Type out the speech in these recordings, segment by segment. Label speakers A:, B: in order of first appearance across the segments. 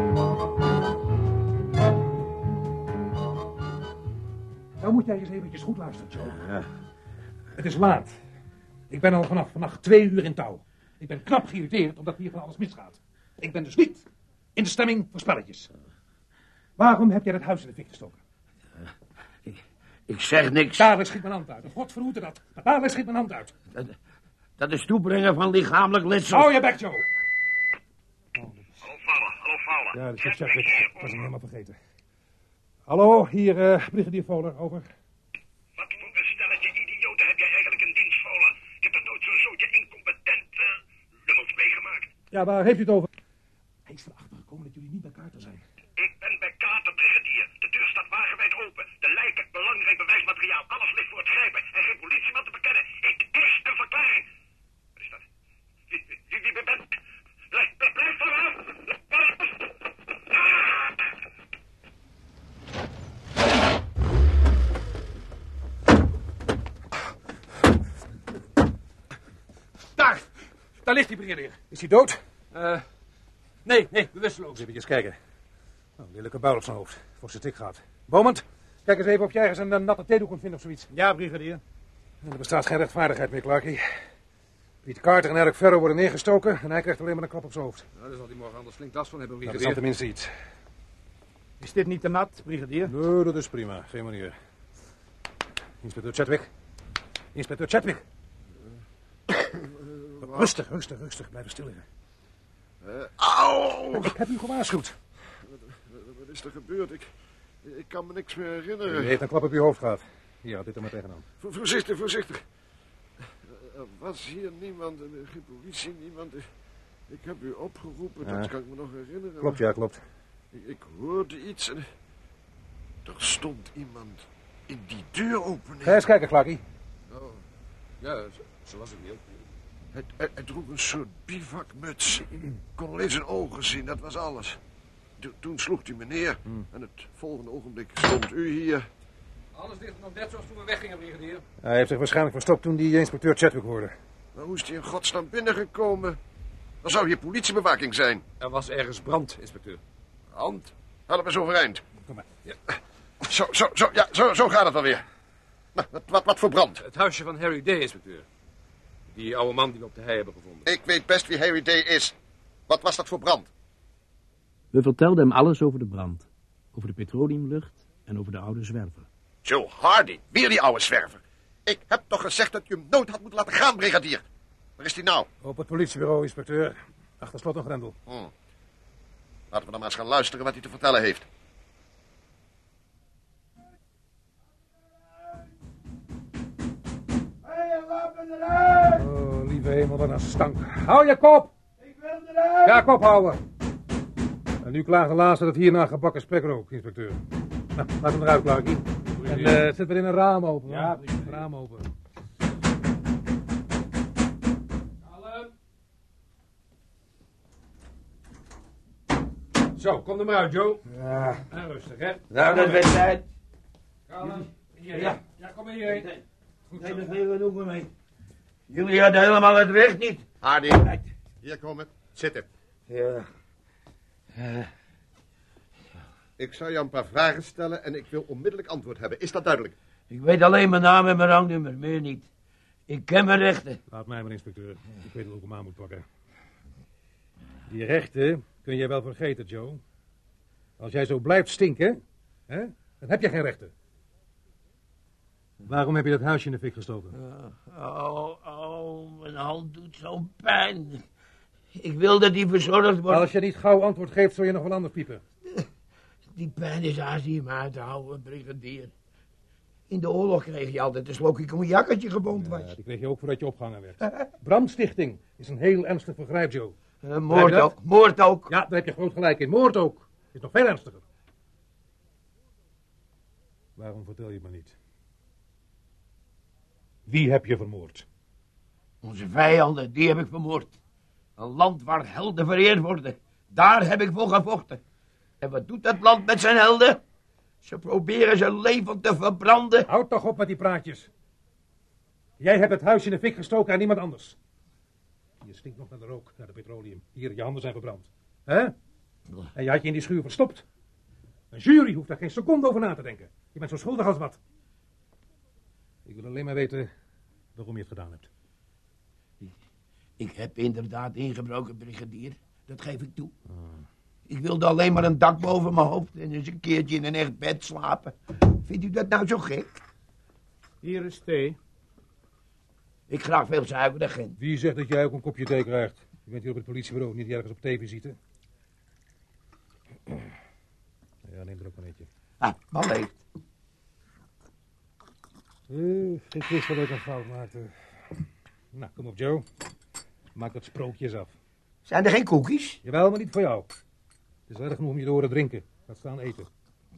A: Dan Nou moet jij eens eventjes goed luisteren, Joe.
B: Ja.
A: Het is laat. Ik ben al vanaf vannacht twee uur in touw. Ik ben knap geïrriteerd omdat hier van alles misgaat. Ik ben dus niet in de stemming voor spelletjes. Waarom heb jij dat huis in de fik gestoken?
B: Ik zeg niks.
A: Dadelijk schiet mijn hand uit. God verhoede dat. Maar dadelijk schiet mijn hand uit.
B: Dat, dat is toebrengen van lichamelijk letsel.
A: Hou je bek, Joe.
C: Hallo Fowler, hallo Fowler.
A: Ja, dat is zegt het. Ik was hem helemaal vergeten. Hallo, hier eh brigadier Voller, over.
C: Wat voor een stelletje idioten heb jij eigenlijk in dienst, Fowler? Ik heb nog nooit zo'n zootje incompetent uh, lummels meegemaakt.
A: Ja, waar heeft u het over? Hij is erachter gekomen dat jullie niet bij elkaar te zijn.
C: Ik ben bij Kater, brigadier. De deur staat wagenwijd open. De lijken, belangrijk bewijsmateriaal, alles ligt voor het grijpen. Er is geen politieman te bekennen. Ik eis een verklaring. Wat is dat? Wie, wie, wie, wie bent u? Blijf, blijf, blijf van me af! Blijf van me af! Ah!
D: Daar! Daar ligt die brigadier.
A: Is hij dood?
D: Eh nee, nee, bewusteloos.
A: Even kijken. Nou, een lelijke buil op zijn hoofd, voor zijn tik gaat. Bomend, kijk eens even of jij ergens een, eh, natte theedoek kunt vinden of zoiets.
D: Ja, brigadier.
A: En er bestaat geen rechtvaardigheid meer, Clarky. Piet Carter en Eric Ferro worden neergestoken en hij krijgt alleen maar een klap op zijn hoofd.
D: Nou, daar zal hij morgen anders flink last van hebben,
A: Dat is dan tenminste iets.
D: Is dit niet te nat, brigadier?
A: Nee, dat is prima. Geen manier. Inspecteur Chadwick. Inspecteur Chadwick. rustig, rustig, rustig. Blijf stil liggen.
E: Au!
A: Ik heb u gewaarschuwd.
E: Wat is er gebeurd? Ik, ik kan me niks meer
A: U
E: herinneren.
A: heeft een klap op uw hoofd gehad. Hier, had dit er maar tegenaan.
E: Vo- Voorzichtig, voorzichtig. Er was hier niemand, eh, geen politie, niemand. Ik- Ik heb u opgeroepen,
A: Ja.
E: dat kan ik me nog herinneren.
A: Klopt, ja, klopt.
E: Ik, ik hoorde iets en... Er stond iemand in die deuropening.
A: Ga eens kijken, Clarky.
E: Oh,
D: Ja, zo was het niet.
E: het, het, het droeg een soort bivakmuts. Ik kon alleen zijn ogen zien, dat was alles. To- toen sloeg hij me neer.
A: Hmm.
E: En het volgende ogenblik stond u hier.
D: Alles ligt nog net zoals toen we weggingen, brigadier.
A: Hij heeft zich waarschijnlijk verstopt toen die inspecteur Chadwick hoorde.
E: Maar hoe is hij in godsnaam binnengekomen? Dan zou hier politiebewaking zijn.
D: Er was ergens brand, inspecteur.
E: Hand, help eens overeind.
A: Kom maar.
D: Ja.
E: Zo, zo, zo, ja, zo, zo gaat het alweer. Nou, wat, wat, wat voor brand?
D: Het huisje van Harry Day, inspecteur. Die oude man die we op de hei hebben gevonden.
E: Ik weet best wie Harry Day is. Wat was dat voor brand?
F: We vertelden hem alles over de brand, over de petroleumlucht en over de oude zwerver.
E: Joe Hardy, weer die oude zwerver. Ik heb toch gezegd dat je hem nooit had moeten laten gaan, brigadier. Waar is hij nou?
A: Op het politiebureau, inspecteur. Achter slot en grendel.
E: Laten we dan maar eens gaan luisteren wat hij te vertellen heeft.
A: Oh, lieve hemel, wat een stank. Hou je kop! Ik wil eruit! Ja, kop houden. En nu klaagt de laatste dat hierna gebakken spek ook, inspecteur. Nou, laat hem eruit, Clarkie. En eh, zet weer in een raam open. Ja, raam open.
D: Zo, kom er maar uit, Joe. Ja. En rustig, hè?
B: Nou, dat werd tijd.
D: Kalm. Hier, ja. ja, kom maar hierheen. Goed zo.
B: Jullie hadden helemaal het recht niet.
E: Hardy, hier komen. Zitten.
B: Ja.
E: Eh. Ik zou jou een paar vragen stellen en ik wil onmiddellijk antwoord hebben. Is dat duidelijk?
B: Ik weet alleen mijn naam en mijn rangnummer, meer niet. Ik ken mijn rechten.
A: Laat mij maar, inspecteur. Ik weet hoe ik hem aan moet pakken. Die rechten kun jij wel vergeten, Joe. Als jij zo blijft stinken, hè, dan heb je geen rechten. Waarom heb je dat huisje in de fik gestoken?
B: Oh, oh, mijn hand doet zo pijn. Ik wil dat die verzorgd wordt.
A: Als je niet gauw antwoord geeft, zul je nog wel anders piepen.
B: Die pijn is haast niet meer uit te houden, brigadier. In de oorlog kreeg je altijd een slokje cognacatje gebond was.
A: die kreeg je ook voordat je opgehangen werd. Brandstichting is een heel ernstig vergrijp, Joe.
B: Eh, moord,
A: Blijf dat?
B: ook, moord ook.
A: Ja, daar heb je groot gelijk in. Moord ook. Is nog veel ernstiger. Waarom vertel je het me niet? Wie heb je vermoord?
B: Onze vijanden, die heb ik vermoord. Een land waar helden vereerd worden. Daar heb ik voor gevochten. En wat doet dat land met zijn helden? Ze proberen ze levend te verbranden.
A: Houd toch op met die praatjes. Jij hebt het huis in de fik gestoken aan niemand anders. Je stinkt nog naar de rook, naar de petroleum. Hier, je handen zijn verbrand. Hè? En je had je in die schuur verstopt. Een jury hoeft daar geen seconde over na te denken. Je bent zo schuldig als wat. Ik wil alleen maar weten waarom je het gedaan hebt.
B: Ik heb inderdaad ingebroken, brigadier. Dat geef ik toe. Ik wilde alleen maar een dak boven mijn hoofd en eens een keertje in een echt bed slapen. Vindt u dat nou zo gek?
G: Hier is thee.
B: Ik graag veel zuiverder,
A: Wie zegt dat jij ook een kopje thee krijgt? Je bent hier op het politiebureau, niet ergens op tv-visite. Ja, neem er ook een eentje.
B: Ah, maar leeft.
A: Eh, ik wist wel dat ik een fout maakte. Nou, kom op, Joe. Maak dat sprookje eens af.
B: Zijn er geen koekjes?
A: Jawel, maar niet voor jou. Het is erg genoeg om je te horen drinken. Laat staan eten.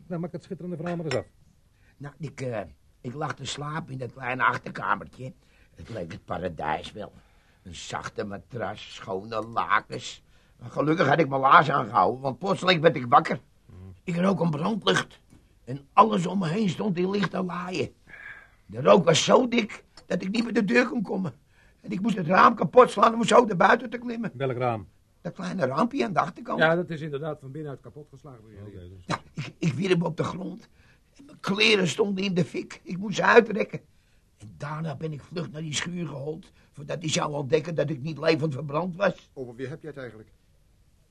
A: Nou, maak dat schitterende verhaal maar eens af.
B: Nou, ik, eh, ik lag te slapen in dat kleine achterkamertje. Het leek het paradijs wel. Een zachte matras, schone lakens. Maar gelukkig had ik mijn laars aangehouden, want plotseling werd ik wakker. Ik rook een brandlucht. En alles om me heen stond in lichte laaien. De rook was zo dik dat ik niet meer de deur kon komen. En ik moest het raam kapot slaan om zo naar buiten te klimmen.
A: Welk raam?
B: Dat kleine raampje aan de achterkant.
G: Ja, dat is inderdaad van binnenuit kapotgeslagen. brigadier.
A: dus-
B: Nou, ik, ik wierp me op de grond. En mijn kleren stonden in de fik. Ik moest ze uitrekken. En daarna ben ik vlug naar die schuur gehold. Voordat hij zou ontdekken dat ik niet levend verbrand was.
E: Over wie heb je het eigenlijk?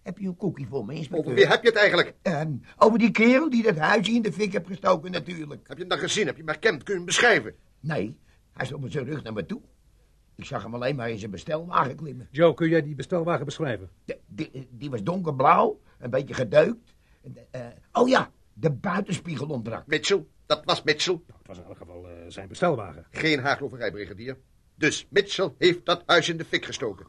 B: Heb je een koekje voor me,
E: Over
B: inspecteur?
E: wie heb je het eigenlijk?
B: En over die kerel die dat huisje in de fik heeft gestoken natuurlijk.
E: Heb je hem dan gezien? Heb je hem herkend? Kun je hem beschrijven?
B: Nee, hij stond met zijn rug naar me toe. Ik zag hem alleen maar in zijn bestelwagen klimmen.
A: Joe, kun jij die bestelwagen beschrijven?
B: De- die, die was donkerblauw, een beetje gedeukt. En de- eh, oh ja, de buitenspiegel ontbrak.
E: Mitchell? Dat was Mitchell.
A: Het was in elk geval eh, zijn bestelwagen.
E: Geen haagloverij, brigadier. Dus Mitchell heeft dat huis in de fik gestoken.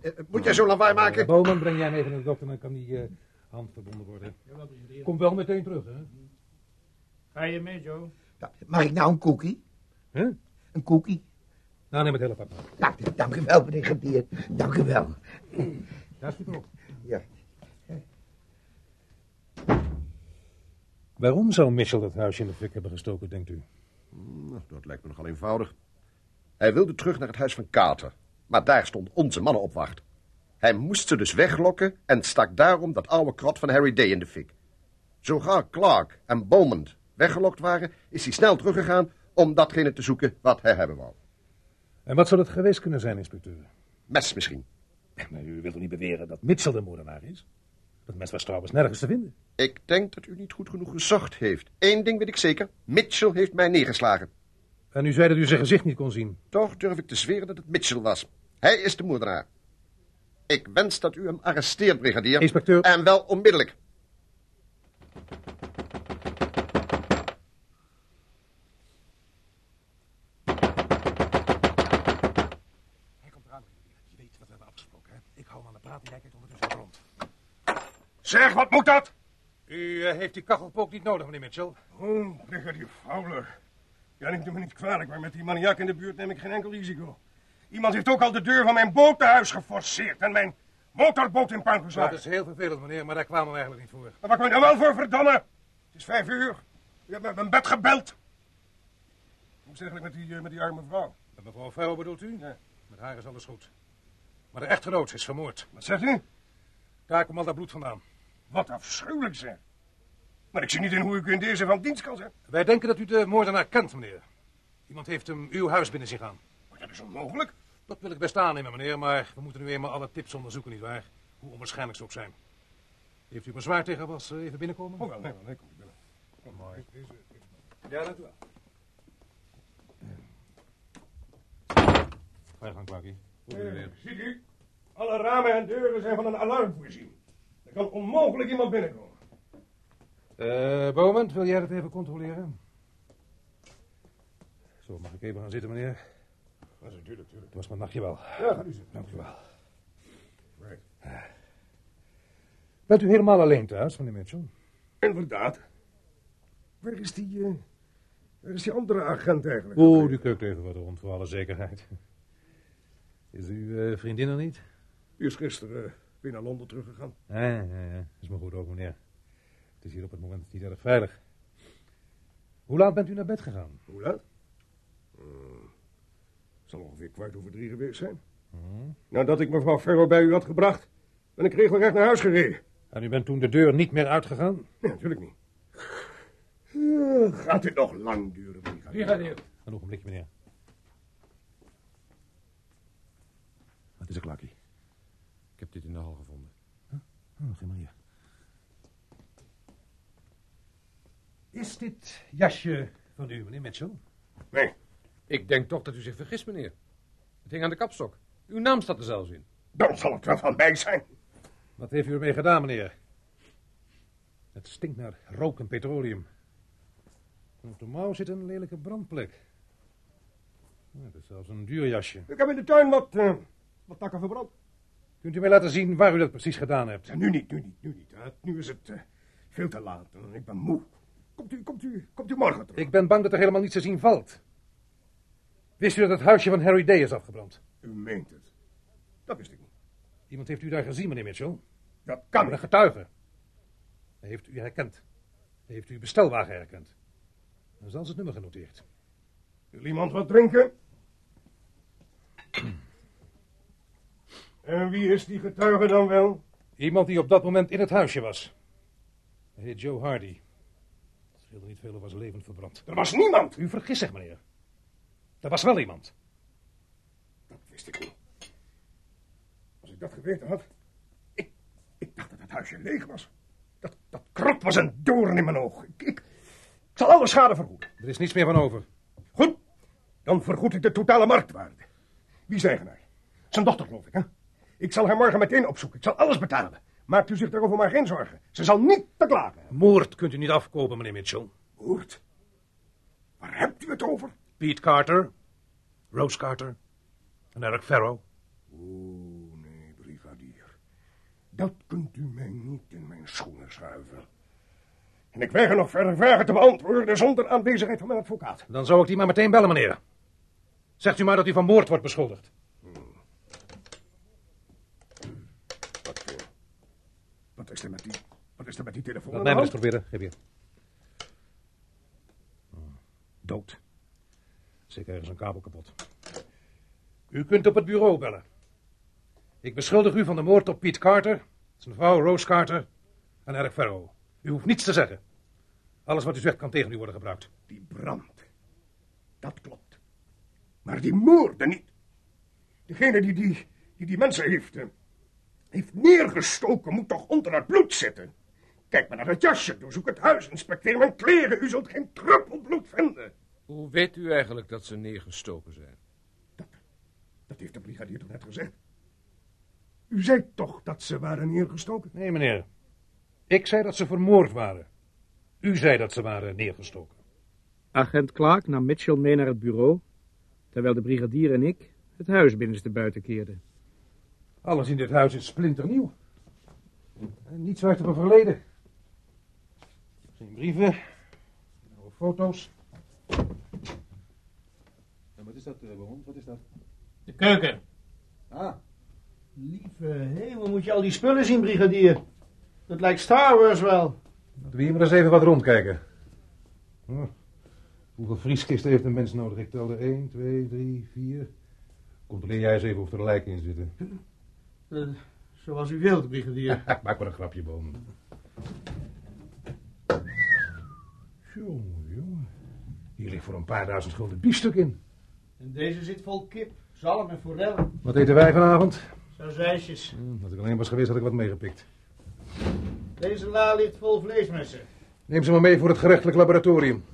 E: Eh, eh, Moet jij zo lawaai
A: Eh,
E: maken?
A: Bowman, breng jij hem even naar de dokter, dan kan die eh, hand verbonden worden. Kom wel meteen terug, hè?
G: Ga je mee, Joe?
B: Ja, Mag ik nou een koekie?
A: Huh?
B: Een koekie?
A: Nou, neem het hele pak maar.
B: Nou, dank u wel, brigadier. Dank u wel.
A: Daar zit op.
B: Ja.
A: Waarom zou Mitchell dat huisje in de fik hebben gestoken, denkt u?
E: Nou, dat lijkt me nogal eenvoudig. Hij wilde terug naar het huis van Kater. Maar daar stond onze mannen op wacht. Hij moest ze dus weglokken en stak daarom dat oude krot van Harry Day in de fik. Zo gauw Clark en Bowman weggelokt waren, is hij snel teruggegaan om datgene te zoeken wat hij hebben wou.
A: En wat zou dat geweest kunnen zijn, inspecteur?
E: Mes misschien.
A: Maar u wilt toch niet beweren dat Mitchell de moordenaar is? Dat mes was trouwens nergens te vinden.
E: Ik denk dat u niet goed genoeg gezocht heeft. Eén ding weet ik zeker. Mitchell heeft mij neergeslagen.
A: En u zei dat u zijn gezicht niet kon zien.
E: Toch durf ik te zweren dat het Mitchell was. Hij is de moordenaar. Ik wens dat u hem arresteert, brigadier.
A: Inspecteur.
E: En wel onmiddellijk.
A: Hij komt eraan. Je weet wat we hebben afgesproken, hè? Ik hou hem aan de praat en jij kijkt ondertussen rond.
H: Zeg, wat moet dat?
A: U eh, heeft die kachelpook niet nodig, meneer Mitchell.
H: Oh, brigadier Fowler. Ja, neemt u me niet kwalijk, maar met die maniak in de buurt neem ik geen enkel risico. Iemand heeft ook al de deur van mijn botenhuis geforceerd en mijn motorboot in puin
A: Dat
H: geslagen.
A: is heel vervelend, meneer, maar daar kwamen we eigenlijk niet voor.
H: Maar waar kom je dan nou wel voor, verdomme? Het is vijf uur. U hebt me uit mijn bed gebeld. Hoe is het eigenlijk met die, eh, met die arme vrouw?
A: Met mevrouw Ferro bedoelt u?
H: Ja.
A: Met haar is alles goed. Maar de echtgenoot is vermoord.
H: Wat zegt u?
A: Daar komt al dat bloed vandaan.
H: Wat afschuwelijk, zeg. Maar ik zie niet in hoe ik u in deze van dienst kan zijn.
A: Wij denken dat u de moordenaar kent, meneer. Iemand heeft hem uw huis binnen zien gaan.
H: Maar dat is onmogelijk.
A: Dat wil ik best aannemen, meneer, maar we moeten nu eenmaal alle tips onderzoeken, nietwaar? Hoe onwaarschijnlijk ze ook zijn. Heeft u bezwaar tegen was eh, even binnenkomen?
H: Oh, wel, nee, wel, nee, kom niet binnen. Oh, mooi.
A: Ja, dat wel. Ga je gang, Kwakkie.
H: Ziet u? Alle ramen en deuren zijn van een alarm voorzien. Er kan onmogelijk iemand binnenkomen.
A: Eh, Bowman, wil jij dat even controleren? Zo, mag ik even gaan zitten, meneer?
H: Dat is natuurlijk, natuurlijk.
A: Het was mijn nachtje wel.
H: Ja, gaat u zitten.
A: Dank u wel.
H: Right.
A: Bent u helemaal alleen thuis, meneer Mitchell?
H: Inderdaad. Waar is die, eh, waar is die andere agent eigenlijk?
A: Oh, die keukt even wat rond, voor alle zekerheid. Is uw eh, vriendin er niet?
H: Die is gisteren eh, weer naar Londen teruggegaan.
A: Ja, ja, ja. Is maar goed ook, meneer. Het is hier op het moment niet erg veilig. Hoe laat bent u naar bed gegaan?
H: Hoe laat? Hmm. Zal ongeveer kwart over drie geweest zijn. Nadat ik mevrouw Ferro bij u had gebracht, ben ik regelrecht naar huis gereden.
A: En u bent toen de deur niet meer uitgegaan?
H: Nee, natuurlijk niet. Ja, gaat dit nog lang duren? brigadier?
G: Brigadier.
A: Een ogenblikje, meneer.
I: Wat is er, Klakkie?
D: Ik heb dit in de hal gevonden.
I: Oh, geen manier.
A: Is dit jasje van u, meneer Mitchell?
C: Nee,
D: Ik denk toch dat u zich vergist, meneer. Het hing aan de kapstok. Uw naam staat er zelfs in.
C: dan zal het wel van mij zijn.
A: Wat heeft u ermee gedaan, meneer? Het stinkt naar rook en petroleum. En op de mouw zit een lelijke brandplek. Ja, Het is zelfs een duur jasje.
C: Ik heb in de tuin wat, eh, wat takken verbrand.
A: Kunt u mij laten zien waar u dat precies gedaan hebt?
C: Ja, nu niet, nu niet, nu niet. hè. Nu is het eh, veel te laat. eh, Ik ben moe. Komt u, komt u, komt u morgen terug.
A: Ik ben bang dat er helemaal niets te zien valt. Wist u dat het huisje van Harry Day is afgebrand?
C: U meent het. Dat wist ik niet.
A: Iemand heeft u daar gezien, meneer Mitchell?
C: Dat kan
A: Een
C: niet.
A: getuige. Hij heeft u herkend. Hij heeft uw bestelwagen herkend. Dan zal ze het nummer genoteerd.
C: Wil iemand wat drinken? En wie is die getuige dan wel?
A: Iemand die op dat moment in het huisje was. Hij heet Joe Hardy. Het scheelde niet veel of was levend verbrand.
C: Er was niemand.
A: U vergist zich, meneer. Er was wel iemand.
C: Dat wist ik niet. Als ik dat geweten had. Ik, ik dacht dat het huisje leeg was. Dat, dat krot was een doorn in mijn oog. Ik, ik, ik zal alle schade vergoeden.
A: Er is niets meer van over.
C: Goed, dan vergoed ik de totale marktwaarde. Wie is de eigenaar? Zijn dochter, geloof ik, hè? Ik zal haar morgen meteen opzoeken. Ik zal alles betalen. Maakt u zich daarover maar geen zorgen. Ze zal niet te klagen hebben.
A: Moord kunt u niet afkopen, meneer Mitchell.
C: Hoort. Waar hebt u het over?
A: Pete Carter, Rose Carter en Eric Farrow.
C: Oh, nee, brigadier. Dat kunt u mij niet in mijn schoenen schuiven. En ik weiger nog verder vragen te beantwoorden zonder aanwezigheid van mijn advocaat.
A: Dan zou ik die maar meteen bellen, meneer. Zegt u maar dat u van moord wordt beschuldigd.
C: Wat voor? Wat is er met die, wat is er met die telefoon?
A: Laat
C: aan
A: mij maar
C: de
A: eens
C: hand?
A: proberen. Geef hier. Dood. Zeker ergens een kabel kapot. U kunt op het bureau bellen. Ik beschuldig u van de moord op Pete Carter, zijn vrouw Rose Carter en Eric Farrow. U hoeft niets te zeggen. Alles wat u zegt kan tegen u worden gebruikt.
C: Die brand. Dat klopt. Maar die moorden niet. Degene die die, die, die mensen heeft, eh, heeft neergestoken, moet toch onder het bloed zitten. Kijk maar naar het jasje, doorzoek het huis, inspecteer mijn kleren. U zult geen druppel bloed vinden.
D: Hoe weet u eigenlijk dat ze neergestoken zijn?
C: Dat heeft de brigadier toch net gezegd? U zei toch dat ze waren neergestoken?
A: Nee, meneer. Ik zei dat ze vermoord waren. U zei dat ze waren neergestoken.
F: Agent Clark nam Mitchell mee naar het bureau, terwijl de brigadier en ik het huis binnenste buiten keerden.
A: Alles in dit huis is splinternieuw. En niets uit het verleden. Geen brieven, geen oude foto's.
B: Nou, wat is dat, Baron? Wat is dat?
J: De keuken.
B: Ah. Lieve hemel, moet je al die spullen zien, brigadier? Dat lijkt Star Wars wel.
A: Laten we hier maar eens even wat rondkijken. Hm. Hoeveel vrieskisten heeft een mens nodig? Ik telde 1, 2, 3, 4. Controleer jij eens even of er lijken in zitten.
B: Eh, zoals u wilt, brigadier.
A: Ha, Maak maar een grapje, boom. Jongen, jongen. Hier ligt voor een paar duizend gulden biefstuk in.
B: En deze zit vol kip, zalm en forel.
A: Wat eten wij vanavond?
B: Sausijsjes.
A: Hm, Als ik alleen was geweest, had ik wat meegepikt.
B: Deze la ligt vol vleesmessen.
A: Neem ze maar mee voor het gerechtelijk laboratorium.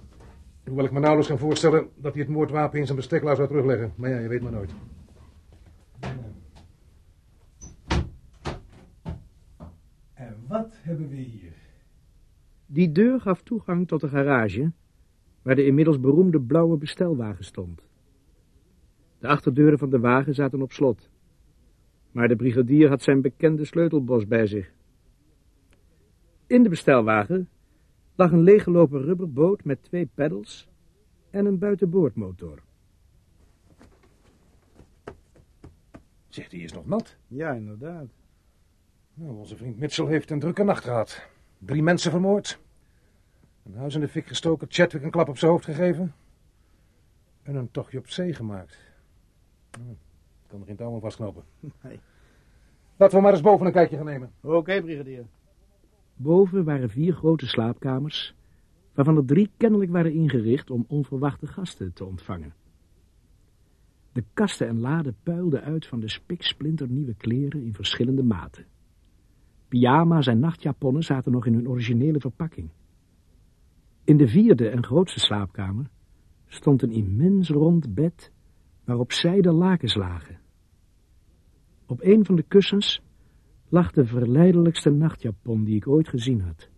A: Hoewel ik me nauwelijks kan voorstellen dat hij het moordwapen in zijn besteklaar zou terugleggen. Maar ja, je weet maar nooit. En wat hebben we hier?
F: Die deur gaf toegang tot de garage, waar de inmiddels beroemde blauwe bestelwagen stond. De achterdeuren van de wagen zaten op slot, maar de brigadier had zijn bekende sleutelbos bij zich. In de bestelwagen lag een leeggelopen rubberboot met twee peddels en een buitenboordmotor.
A: Zegt hij is nog nat.
B: Ja, inderdaad.
A: Nou, onze vriend Mitchell heeft een drukke nacht gehad. Drie mensen vermoord. Een huis in de fik gestoken, Chadwick een klap op zijn hoofd gegeven. En een tochtje op zee gemaakt. Hm, kan er geen touw aan vastknopen.
B: Nee.
A: Laten we maar eens boven een kijkje gaan nemen.
B: Oké, brigadier.
F: Boven waren vier grote slaapkamers waarvan er drie kennelijk waren ingericht om onverwachte gasten te ontvangen. De kasten en laden puilden uit van de spiksplinternieuwe kleren in verschillende maten. Pyjama's en nachtjaponnen zaten nog in hun originele verpakking. In de vierde en grootste slaapkamer stond een immens rond bed waarop zijden lakens lagen. Op een van de kussens lag de verleidelijkste nachtjapon die ik ooit gezien had.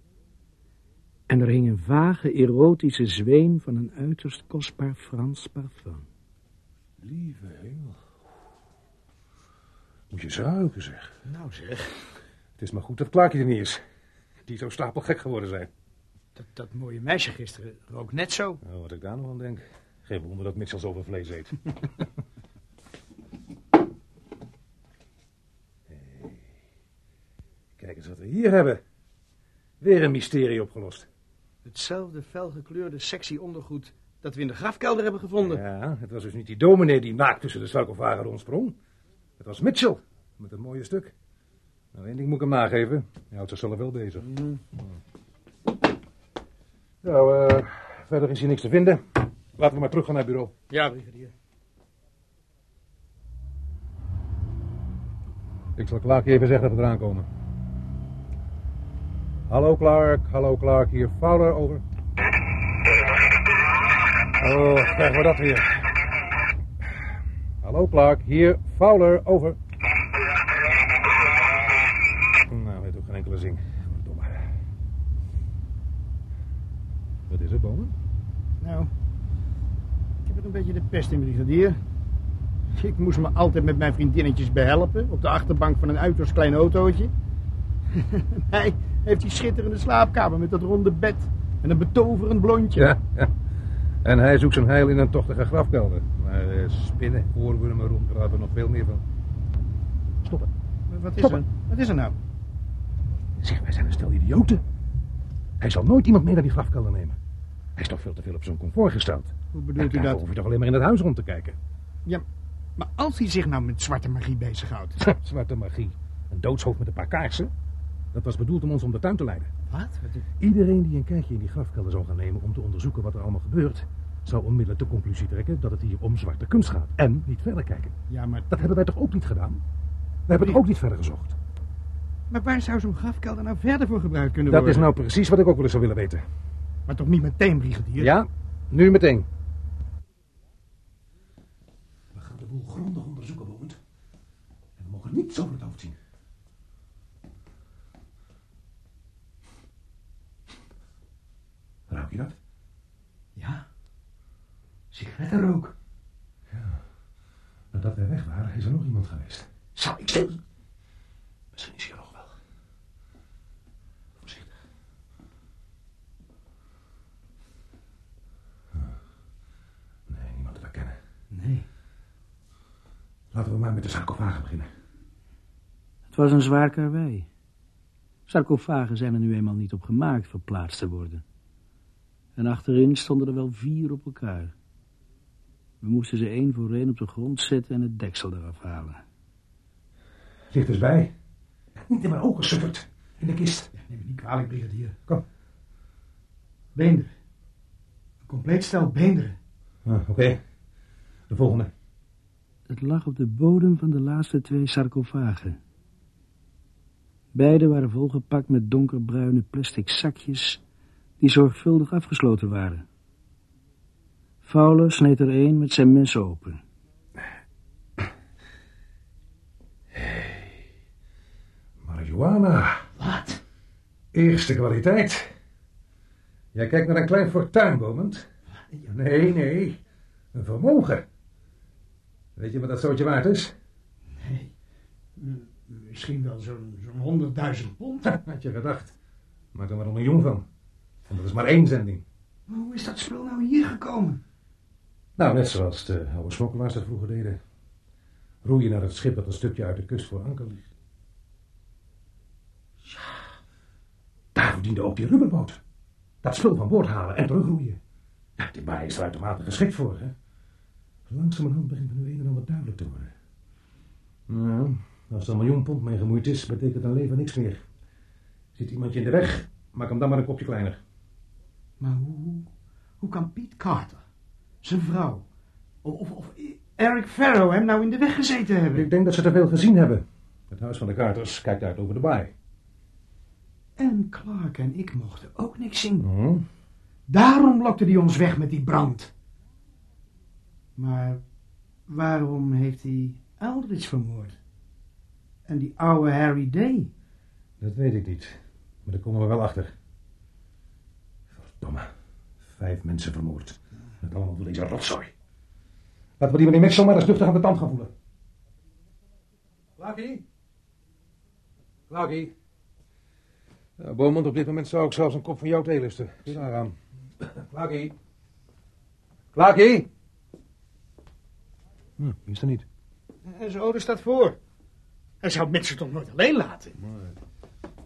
F: En er hing een vage erotische zweem van een uiterst kostbaar Frans parfum.
E: Lieve hemel. Moet je zuigen, zeg.
B: Nou zeg,
A: Het is maar goed dat Klaakje er niet is. Die zou stapelgek geworden zijn.
K: Dat, dat mooie meisje gisteren rook net zo.
A: Nou, wat ik daar nog aan denk. Geen wonder dat Mitchell zoveel vlees eet. Hey. Kijk eens wat we hier hebben. Weer een mysterie opgelost.
K: Hetzelfde felgekleurde sexy ondergoed dat we in de grafkelder hebben gevonden.
A: Ja, het was dus niet die dominee die naakt tussen de sarcofagen ontsprong. Het was Mitchell, met een mooie stuk. Nou, één ding moet ik hem nageven. Hij houdt zichzelf wel bezig.
K: Mhm.
A: Nou, eh, verder is hier niks te vinden. Laten we maar terug gaan naar het bureau.
K: Ja, brigadier.
A: Ik zal Clark even zeggen dat we eraan komen. Hallo Clark, hallo Clark, hier Fowler, over. Oh, krijgen we dat weer. Hallo Clark, hier Fowler, over. Nou, weet ook geen enkele zin. Verdomme. Wat is er, Bomen?
K: Nou, ik heb het een beetje de pest in, brigadier. Ik moest me altijd met mijn vriendinnetjes behelpen op de achterbank van een uiterst klein autootje. Hij heeft die schitterende slaapkamer met dat ronde bed en een betoverend blondje.
A: Ja, ja. En hij zoekt zijn heil in een tochtige grafkelder. Maar eh, spinnen, oorwormen, rondkruipen, nog veel meer van. Stoppen.
K: Wat is
A: Stop.
K: er? Wat is er nou?
A: Zeg, wij zijn een stel idioten. Hij zal nooit iemand mee naar die grafkelder nemen. Hij is toch veel te veel op zijn comfort gesteld.
K: Hoe bedoelt u
A: Daarvoor
K: dat?
A: hoef je toch alleen maar in het huis rond te kijken.
K: Maar als hij zich nou met zwarte magie bezighoudt.
A: Zwarte magie. Een doodshoofd met een paar kaarsen. Dat was bedoeld om ons om de tuin te leiden.
K: Wat?
A: Iedereen die een kijkje in die grafkelder zou gaan nemen om te onderzoeken wat er allemaal gebeurt, zou onmiddellijk de conclusie trekken dat het hier om zwarte kunst gaat. En niet verder kijken.
K: Ja, maar,
A: Dat hebben wij toch ook niet gedaan? We hebben het ook niet verder gezocht.
K: maar waar zou zo'n grafkelder nou verder voor gebruikt kunnen
A: Dat is
K: worden?
A: nou precies wat ik ook wel eens zou willen weten.
K: Maar toch niet meteen, brigadier?
A: Ja, nu meteen.
E: We gaan de boel grondig onderzoeken, Bond. En we mogen niets over het hoofd zien. Ruik je dat?
K: Ja. Sigarettenrook.
E: Nadat wij weg waren, is er nog iemand geweest.
K: Zal ik zeggen?
E: Misschien is hij er nog wel. Voorzichtig. Nee, niemand te herkennen.
K: Nee.
E: Laten we maar met de sarcofaag beginnen.
F: Het was een zwaar karwei. Sarcofagen zijn er nu eenmaal niet op gemaakt verplaatst te worden. En achterin stonden er wel vier op elkaar. We moesten ze één voor één op de grond zetten en het deksel eraf halen.
E: Dicht eens bij. Niet in mijn ogen sukkert. In de kist.
K: Neem me niet kwalijk, brigadier.
E: Kom.
K: Beenderen. Een compleet stel beenderen.
A: Ah, Oké, de volgende.
F: Het lag op de bodem van de laatste twee sarcofagen. Beide waren volgepakt met donkerbruine plastic zakjes die zorgvuldig afgesloten waren. Fowler sneed er een met zijn mes open.
A: Marihuana.
K: Wat?
A: Eerste kwaliteit. Jij kijkt naar een klein fortuin, Bowmond. Nee, nee. Een vermogen. Weet je wat dat zootje waard is?
K: Nee. Mm, Misschien wel zo'n zo'n 100.000 pond.
A: Ha, Had je gedacht. Maak er maar een miljoen van. En dat is maar één zending.
K: Maar hoe is dat spul nou hier gekomen?
A: Nou, net zoals de oude smokkelaars dat vroeger deden. Roeien naar het schip dat een stukje uit de kust voor anker ligt.
E: Daarvoor diende ook die rubberboot.
A: Dat spul van boord halen en terugroeien. Ja, die baai is er uitermate geschikt voor, hè? Langzamerhand begint er nu een en ander duidelijk te worden. Nou, als er een miljoen pond mee gemoeid is, betekent een leven niks meer. Zit iemand je in de weg, maak hem dan maar een kopje kleiner.
K: Maar hoe, hoe kan Piet Carter, zijn vrouw, of, of, of Eric Farrow hem nou in de weg gezeten hebben?
A: Ik denk dat ze te veel gezien hebben. Het huis van de Carters kijkt uit over de baai.
K: En Clark en ik mochten ook niks zien.
A: Hm.
K: Daarom lokte hij ons weg met die brand. Maar waarom heeft hij Aldrich vermoord? En die oude Harry Day?
A: Dat weet ik niet. Maar daar komen we wel achter. Verdomme. Vijf mensen vermoord. Het allemaal door deze rotzooi. Laten we die meneer Maxwell maar eens luchtig aan de tand gaan voelen. Clarkie? Clarkie? Ja, Beaumont, op dit moment zou ik zelfs een kop van jou theelusten. Doe daar aan. Clarkie? Clarkie? Hm, die is er niet.
K: En zijn ouder staat voor. Hij zou mensen toch nooit alleen laten?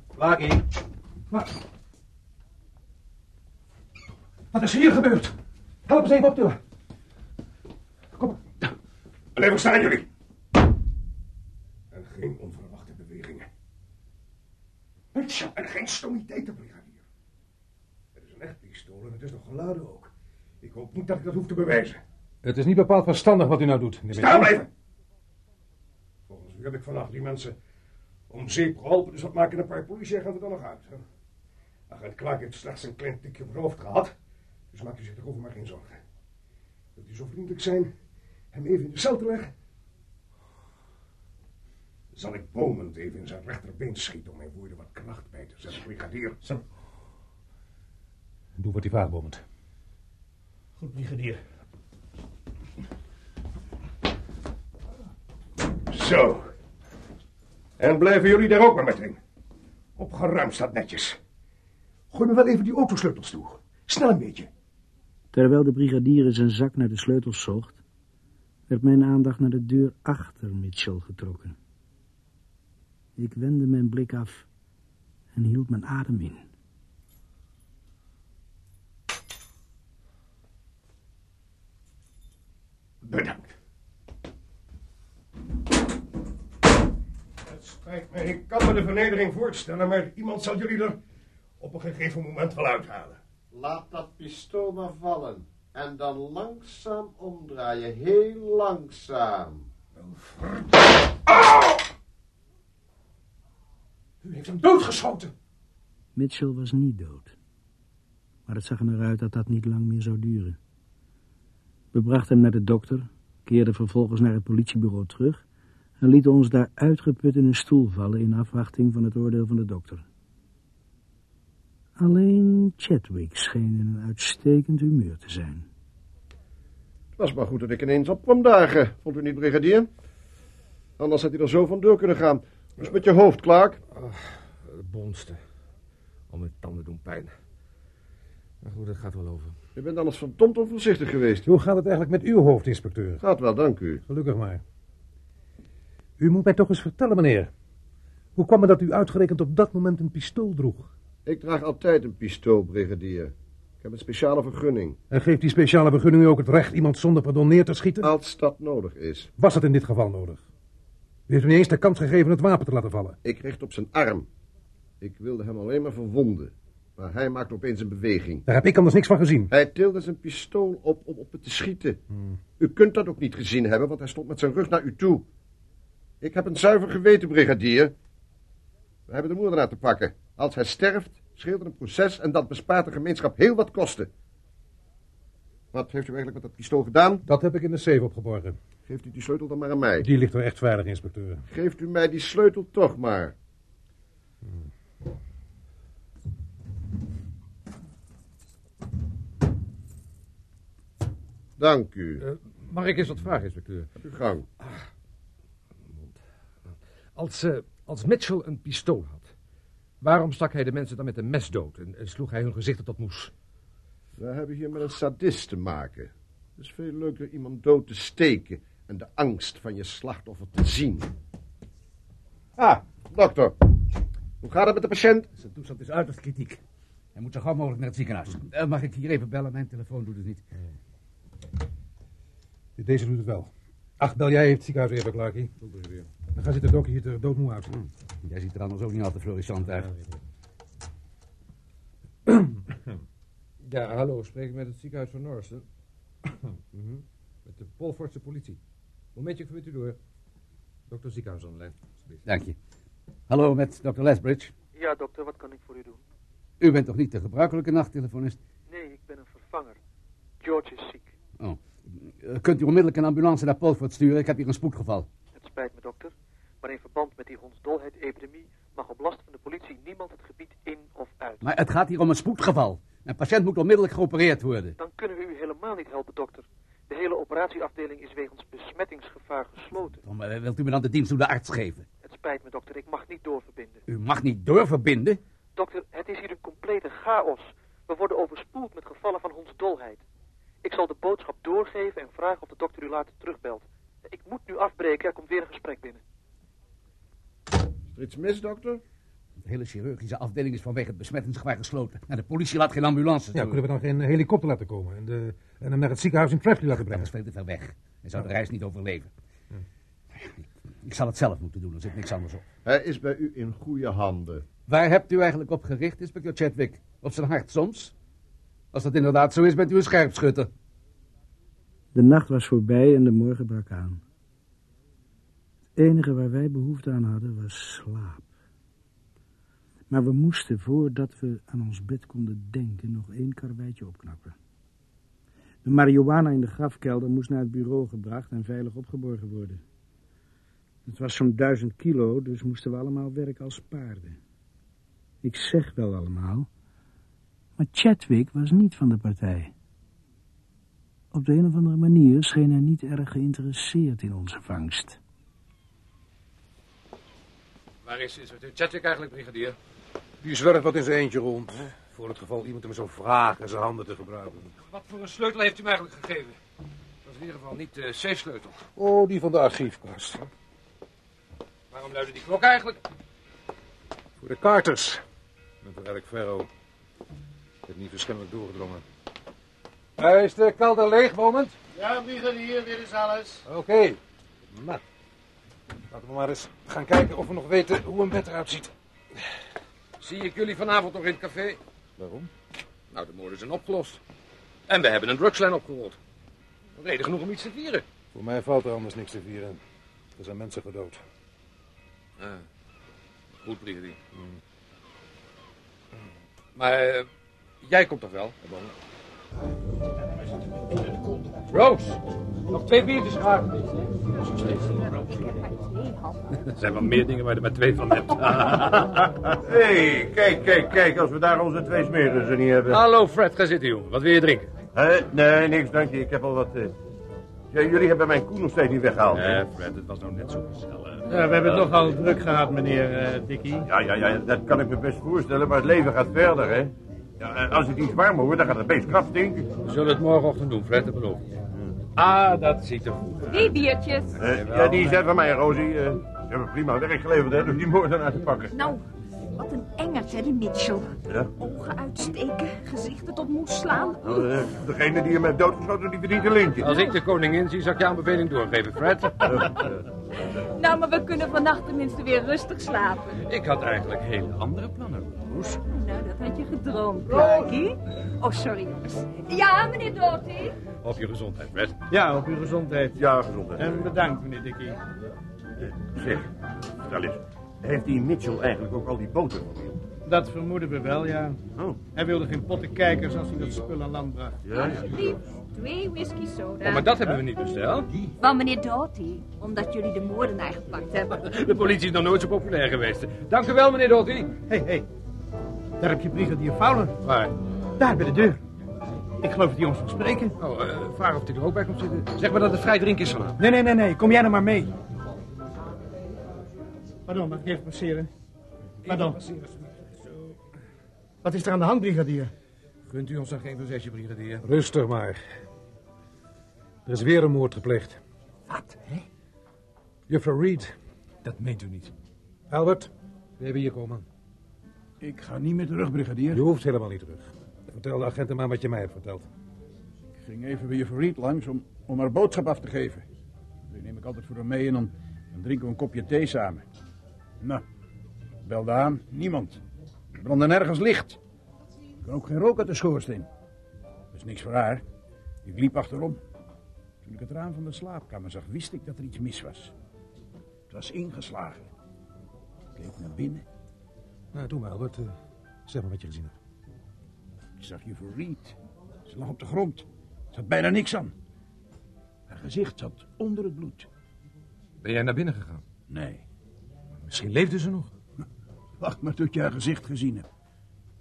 A: Clarkie? Wat? Wat is hier gebeurd? Help eens even optillen. Kom maar.
H: Blijf waar staan jullie. En geen onverwachte bewegingen. Mitchell, en geen stomiteit, brigadier. Het is een echt pistool en het is nog geladen ook. Ik hoop niet dat ik dat hoef te bewijzen.
A: Het is niet bepaald verstandig wat u nou doet. meneer
H: Staan
A: Mitchell.
H: blijven! Volgens u heb ik vannacht die mensen om zeep geholpen, dus wat maken een paar politieagenten dan nog uit? Hè? Agent Clark heeft slechts een klein tikje op het hoofd gehad, dus maakt u zich erover maar geen zorgen. Wilt u zo vriendelijk zijn hem even in de cel te leggen? Zal ik Bowman even in zijn rechterbeen schieten om mijn woorden wat kracht bij te zetten, brigadier?
A: Doe wat hij vraagt, Beaumont.
K: Goed, brigadier.
H: Zo. En blijven jullie daar ook maar meteen. Opgeruimd staat netjes. Gooi me wel even die autosleutels toe. Snel een beetje.
F: Terwijl de brigadier in zijn zak naar de sleutels zocht, werd mijn aandacht naar de deur achter Mitchell getrokken. Ik wendde mijn blik af en hield mijn adem in.
H: Bedankt. Het spijt me, ik kan me de vernedering voorstellen, maar iemand zal jullie er op een gegeven moment wel uithalen.
L: Laat dat pistool maar vallen. En dan langzaam omdraaien. Heel langzaam.
H: U heeft hem doodgeschoten.
F: Mitchell was niet dood. Maar het zag er naar uit dat dat niet lang meer zou duren. We brachten hem naar de dokter, keerden vervolgens naar het politiebureau terug en lieten ons daar uitgeput in een stoel vallen in afwachting van het oordeel van de dokter. Alleen Chadwick scheen in een uitstekend humeur te zijn.
E: Het was maar goed dat ik ineens op kwam dagen, vond u niet, brigadier? Anders had hij er zo vandoor kunnen gaan. Dus met je hoofd, Clark.
M: Het bonste. Al mijn tanden doen pijn. Maar goed, dat gaat wel over.
E: Je bent anders verdomd onvoorzichtig geweest.
A: Hoe gaat het eigenlijk met uw hoofdinspecteur?
E: Gaat wel, dank u.
A: Gelukkig maar. U moet mij toch eens vertellen, meneer. Hoe kwam het dat u uitgerekend op dat moment een pistool droeg?
E: Ik draag altijd een pistool, brigadier. Ik heb een speciale vergunning,
A: En geeft die speciale vergunning u ook het recht iemand zonder pardon neer te
M: Eh.
A: schieten?
E: als dat nodig is.
A: Was dat in dit geval nodig? U heeft me niet eens de kans gegeven het wapen te laten vallen.
E: Ik richt op zijn arm. Ik wilde hem alleen maar verwonden. Maar hij maakte opeens een beweging.
A: Daar heb ik anders niks van gezien.
E: Hij tilde zijn pistool op om op het te schieten. U kunt dat ook niet gezien hebben, want hij stond met zijn rug naar u toe. Ik heb een zuiver geweten, brigadier. We hebben de moordenaar te pakken. Als hij sterft, scheelt er een proces en dat bespaart de gemeenschap heel wat kosten. Wat heeft u eigenlijk met dat pistool gedaan?
A: Dat heb ik in de safe opgeborgen.
E: Geeft u die sleutel dan maar aan mij.
A: Die ligt er echt veilig, inspecteur.
E: Geeft u mij die sleutel toch maar. Dank u.
M: Mag ik eens wat vragen, inspecteur?
E: Uw gang.
M: Als, eh, als Mitchell een pistool had, waarom stak hij de mensen dan met een mes dood en, en sloeg hij hun gezichten tot moes?
E: We hebben hier met een sadist te maken. Het is veel leuker iemand dood te steken en de angst van je slachtoffer te zien. Ah, dokter. Hoe gaat het met de patiënt?
N: Zijn toestand is uiterst dus kritiek. Hij moet zo gauw mogelijk naar het ziekenhuis.
A: Mm.
N: Eh, mag ik hier even bellen? Mijn telefoon doet het niet.
A: Deze doet het wel. Ach, bel jij even het ziekenhuis even, Clarkie. Dan gaat zitten dokter hier er doodmoe uit.
D: Mm.
N: Jij ziet er anders ook niet al te florissant uit.
D: Ja, hallo, spreek ik met het ziekenhuis van Norsten. Mhm. Met de Polvoortse politie. Momentje, ik verbind u door. Dokter ziekenhuis aan de lijn, alsjeblieft.
N: Dank je. Hallo met Dr. Lesbridge.
O: Ja, dokter, wat kan ik voor u doen?
N: U bent toch niet de gebruikelijke nachttelefonist?
O: Nee, ik ben een vervanger. George is ziek.
N: Oh. Eh, Kunt u onmiddellijk een ambulance naar Polvoort sturen? Ik heb hier een spoedgeval.
O: Het spijt me, dokter. Maar in verband met die hondsdolheid-epidemie mag op last van de politie niemand het gebied in of uit.
N: Maar het gaat hier om een spoedgeval. Een patiënt moet onmiddellijk geopereerd worden.
O: Dan kunnen we u helemaal niet helpen, dokter. De hele operatieafdeling is wegens besmettingsgevaar gesloten.
N: Tom, eh, wilt u me dan de dienst toe de arts geven?
O: Het spijt me, dokter. Ik mag niet doorverbinden.
N: U mag niet doorverbinden.
O: Dokter, het is hier een complete chaos. We worden overspoeld met gevallen van hondsdolheid. Ik zal de boodschap doorgeven en vragen of de dokter u later terugbelt. Ik moet nu afbreken, er komt weer een gesprek binnen.
N: Is er iets mis, dokter? De hele chirurgische afdeling is vanwege het besmettingsgevaar gesloten. En de politie laat geen ambulances
A: Ja,
N: door.
A: kunnen we dan geen eh, helikopter laten komen en, de, en hem naar het ziekenhuis in Trepley laten
N: Dat
A: brengen?
N: was veel te ver weg. Hij zou de reis niet overleven. Ik zal het zelf moeten doen, er zit niks anders op.
L: Hij is bij u in goede handen.
N: Waar hebt u eigenlijk op gericht, inspecteur Chadwick? Op zijn hart soms? Als dat inderdaad zo is, bent u een scherpschutter.
F: De nacht was voorbij en de morgen brak aan. Het enige waar wij behoefte aan hadden was slaap. Maar we moesten, voordat we aan ons bed konden denken, nog één karweitje opknappen. De marihuana in de grafkelder moest naar het bureau gebracht en veilig opgeborgen worden. Het was zo'n duizend kilo, dus moesten we allemaal werken als paarden. Ik zeg wel allemaal, maar Chadwick was niet van de partij. Op de een of andere manier scheen hij niet erg geïnteresseerd in onze vangst.
A: Waar is inspecteur Chadwick eigenlijk, brigadier? Die zwerft wat in zijn eentje rond. Voor het geval iemand hem zou vragen zijn handen te gebruiken.
D: Wat voor een sleutel heeft u mij eigenlijk gegeven? Dat is in ieder geval niet eh, de safe-sleutel.
A: Oh, die van de archiefkast.
D: Waarom luidde die klok eigenlijk?
A: Voor de Carters. Met de Eric Ferro. Ik heb niet verschillend doorgedrongen. Hij is de kelder leeg, moment.
L: Ja, brigadier, dit is alles.
A: Oké. Nou, laten we maar eens gaan kijken of we nog weten hoe een bed eruit ziet.
D: Zie ik jullie vanavond nog in het café?
A: Waarom?
D: Nou, de moorden zijn opgelost. En we hebben een drugslijn opgerold. Reden genoeg om iets te vieren.
A: Voor mij valt er anders niks te vieren. Er zijn mensen gedood.
D: Ah. goed, brigadier. Maar eh, jij komt toch wel? Rose, nog twee biertjes graag.
P: Er zijn wel meer dingen waar je er maar twee van hebt.
Q: Hé, hey, kijk, kijk, kijk, als we daar onze twee smeerrussen niet hebben.
P: Hallo Fred, ga zitten jongen. Wat wil je drinken?
Q: Hè? nee, niks, dank je. Ik heb al wat... eh. Ja, jullie hebben mijn koe nog steeds niet weggehaald. hè?
P: Nee, Fred, het was nou net zo gezellig.
Q: Ja, we hebben het
P: toch
Q: nogal druk gehad, meneer eh, Dickie. Ja, ja, ja, dat kan ik me best voorstellen, maar het leven gaat verder, hè. Ja, eh, als het iets warmer wordt, dan gaat het beest krap stinken.
P: We zullen het morgenochtend doen, Fred, dat beloof ik. Ah, dat ziet er goed uit.
R: Drie biertjes.
Q: Eh, ja, die zijn van mij, Rosie. Eh, ze hebben prima werk geleverd, hè, dus die moordenaar te pakken.
R: Nou, wat een engert, hè, die Mitchell.
Q: Ja?
R: Ogen uitsteken, gezichten tot moes slaan.
Q: Nou, eh, degene die hem heeft doodgeschoten, die verdient een lintje.
P: Als ik de koningin zie, zal ik je aanbeveling doorgeven, Fred.
R: Nou, maar we kunnen vannacht tenminste weer rustig slapen.
P: ik had eigenlijk hele andere plannen. Roos.
R: Nou, dat had je gedroomd, Clarkie. Oh, sorry, jongens. Ja, meneer Doughty.
P: Op je gezondheid, Fred.
K: Ja, op uw gezondheid.
Q: Ja, gezondheid.
K: En bedankt, meneer Dickie.
Q: Eh, Zeg, vertel eens. Heeft die Mitchell eigenlijk ook al die boten van hier?
K: Dat vermoeden we wel, ja. Hij wilde geen potten kijkers als hij dat spul aan land bracht.
R: Alsjeblieft, twee whisky soda.
P: we niet besteld.
R: Van meneer Doughty, omdat jullie de moordenaar gepakt hebben.
P: De politie is nog nooit zo populair geweest. Dank u wel, meneer Dotti.
K: Hé, hé. Daar heb je brigadier Fowler.
P: Waar?
K: Daar bij de deur. Ik geloof dat hij ons wil spreken.
D: Oh, eh, vraag of hij er ook bij komt zitten. Zeg maar dat het vrij drinken is vanavond.
K: Nee, nee, nee, nee. Kom jij nou maar mee. Pardon, mag ik even passeren? Pardon. Wat is er aan de hand, brigadier?
D: Kunt u ons dan geen verzetje, brigadier?
A: Rustig maar. Er is weer een moord gepleegd. Wat, hè? Juffrouw Reed. Dat meent u niet. Albert, we hebben hier komen.
S: Ik ga niet meer terug, brigadier.
A: Je hoeft helemaal niet terug. Vertel de agenten maar wat je mij hebt verteld.
S: Ik ging even bij juffrouw Reed langs om, om haar boodschap af te geven. Die neem ik altijd voor haar mee en dan, dan drinken we een kopje thee samen. Nou, belde aan. Niemand. Er brandde nergens licht. Er kwam ook geen rook uit de schoorsteen. is niks voor haar. Ik liep achterom. Toen ik het raam van de slaapkamer zag, wist ik dat er iets mis was. Het was ingeslagen. Ik keek naar binnen.
A: Nou, doe maar, Albert. Eh, zeg maar wat je gezien hebt.
S: Ik zag juffrouw Reed. Ze lag op de grond. Er zat bijna niks aan. Haar gezicht zat onder het bloed.
D: Ben jij naar binnen gegaan?
S: Nee.
D: Misschien leefde ze nog.
S: Wacht maar tot je haar gezicht gezien hebt.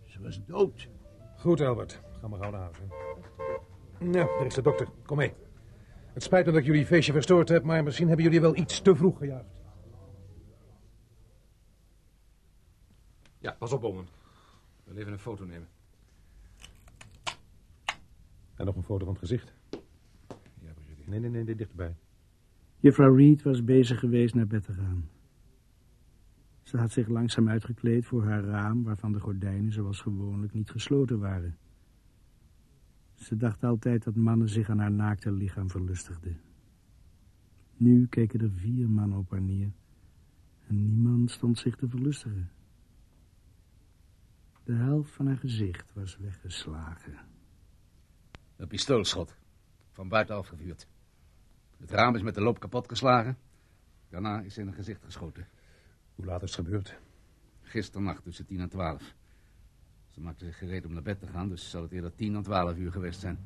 S: Ze was dood.
A: Goed, Albert. Ga maar gauw naar huis. hè. Nou, daar is de dokter. Kom mee. Het spijt me dat ik jullie feestje verstoord heb, maar misschien hebben jullie wel iets te vroeg gejuicht.
D: Ja, pas op, Omen. We even een foto nemen.
A: En nog een foto van het gezicht. Nee, nee, nee, nee, dichterbij.
F: Juffrouw Reed was bezig geweest naar bed te gaan. Ze had zich langzaam uitgekleed voor haar raam, waarvan de gordijnen zoals gewoonlijk niet gesloten waren. Ze dacht altijd dat mannen zich aan haar naakte lichaam verlustigden. Nu keken er vier mannen op haar neer en niemand stond zich te verlustigen. De helft van haar gezicht was weggeslagen.
N: Een pistoolschot. Van buitenaf gevuurd. Het raam is met de loop kapot geslagen. Daarna is ze in het gezicht geschoten.
A: Hoe laat is het gebeurd?
N: Gisternacht tussen 10 en 12. Ze maakte zich gereed om naar bed te gaan, dus zal het eerder 10 en 12 uur geweest zijn.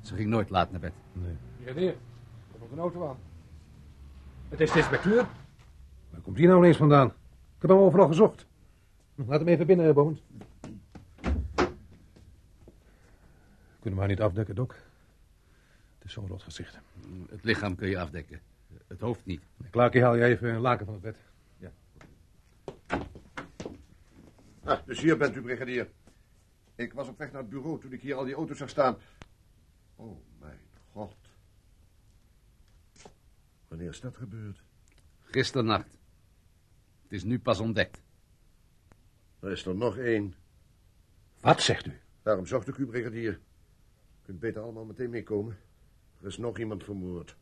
N: Ze ging nooit laat naar bed.
A: Nee.
D: Brigadier, er komt een auto aan. Het is de inspecteur.
A: Waar komt die nou ineens vandaan? Ik heb hem overal gezocht. Laat hem even binnen, Bones. Kunnen we haar niet afdekken, Doc? Het is zo'n rot gezicht.
N: Het lichaam kun je afdekken. Het hoofd niet.
A: Klaakie, haal jij even een laken van het bed.
E: Ah, dus hier bent u, brigadier. Ik was op weg naar het bureau toen ik hier al die auto's zag staan. Oh, mijn god. Wanneer is dat gebeurd?
N: Gisternacht. Het is nu pas ontdekt.
E: Er is er nog één.
A: Wat zegt u?
E: Daarom zocht ik u, brigadier. U kunt beter allemaal meteen meekomen. Er is nog iemand vermoord.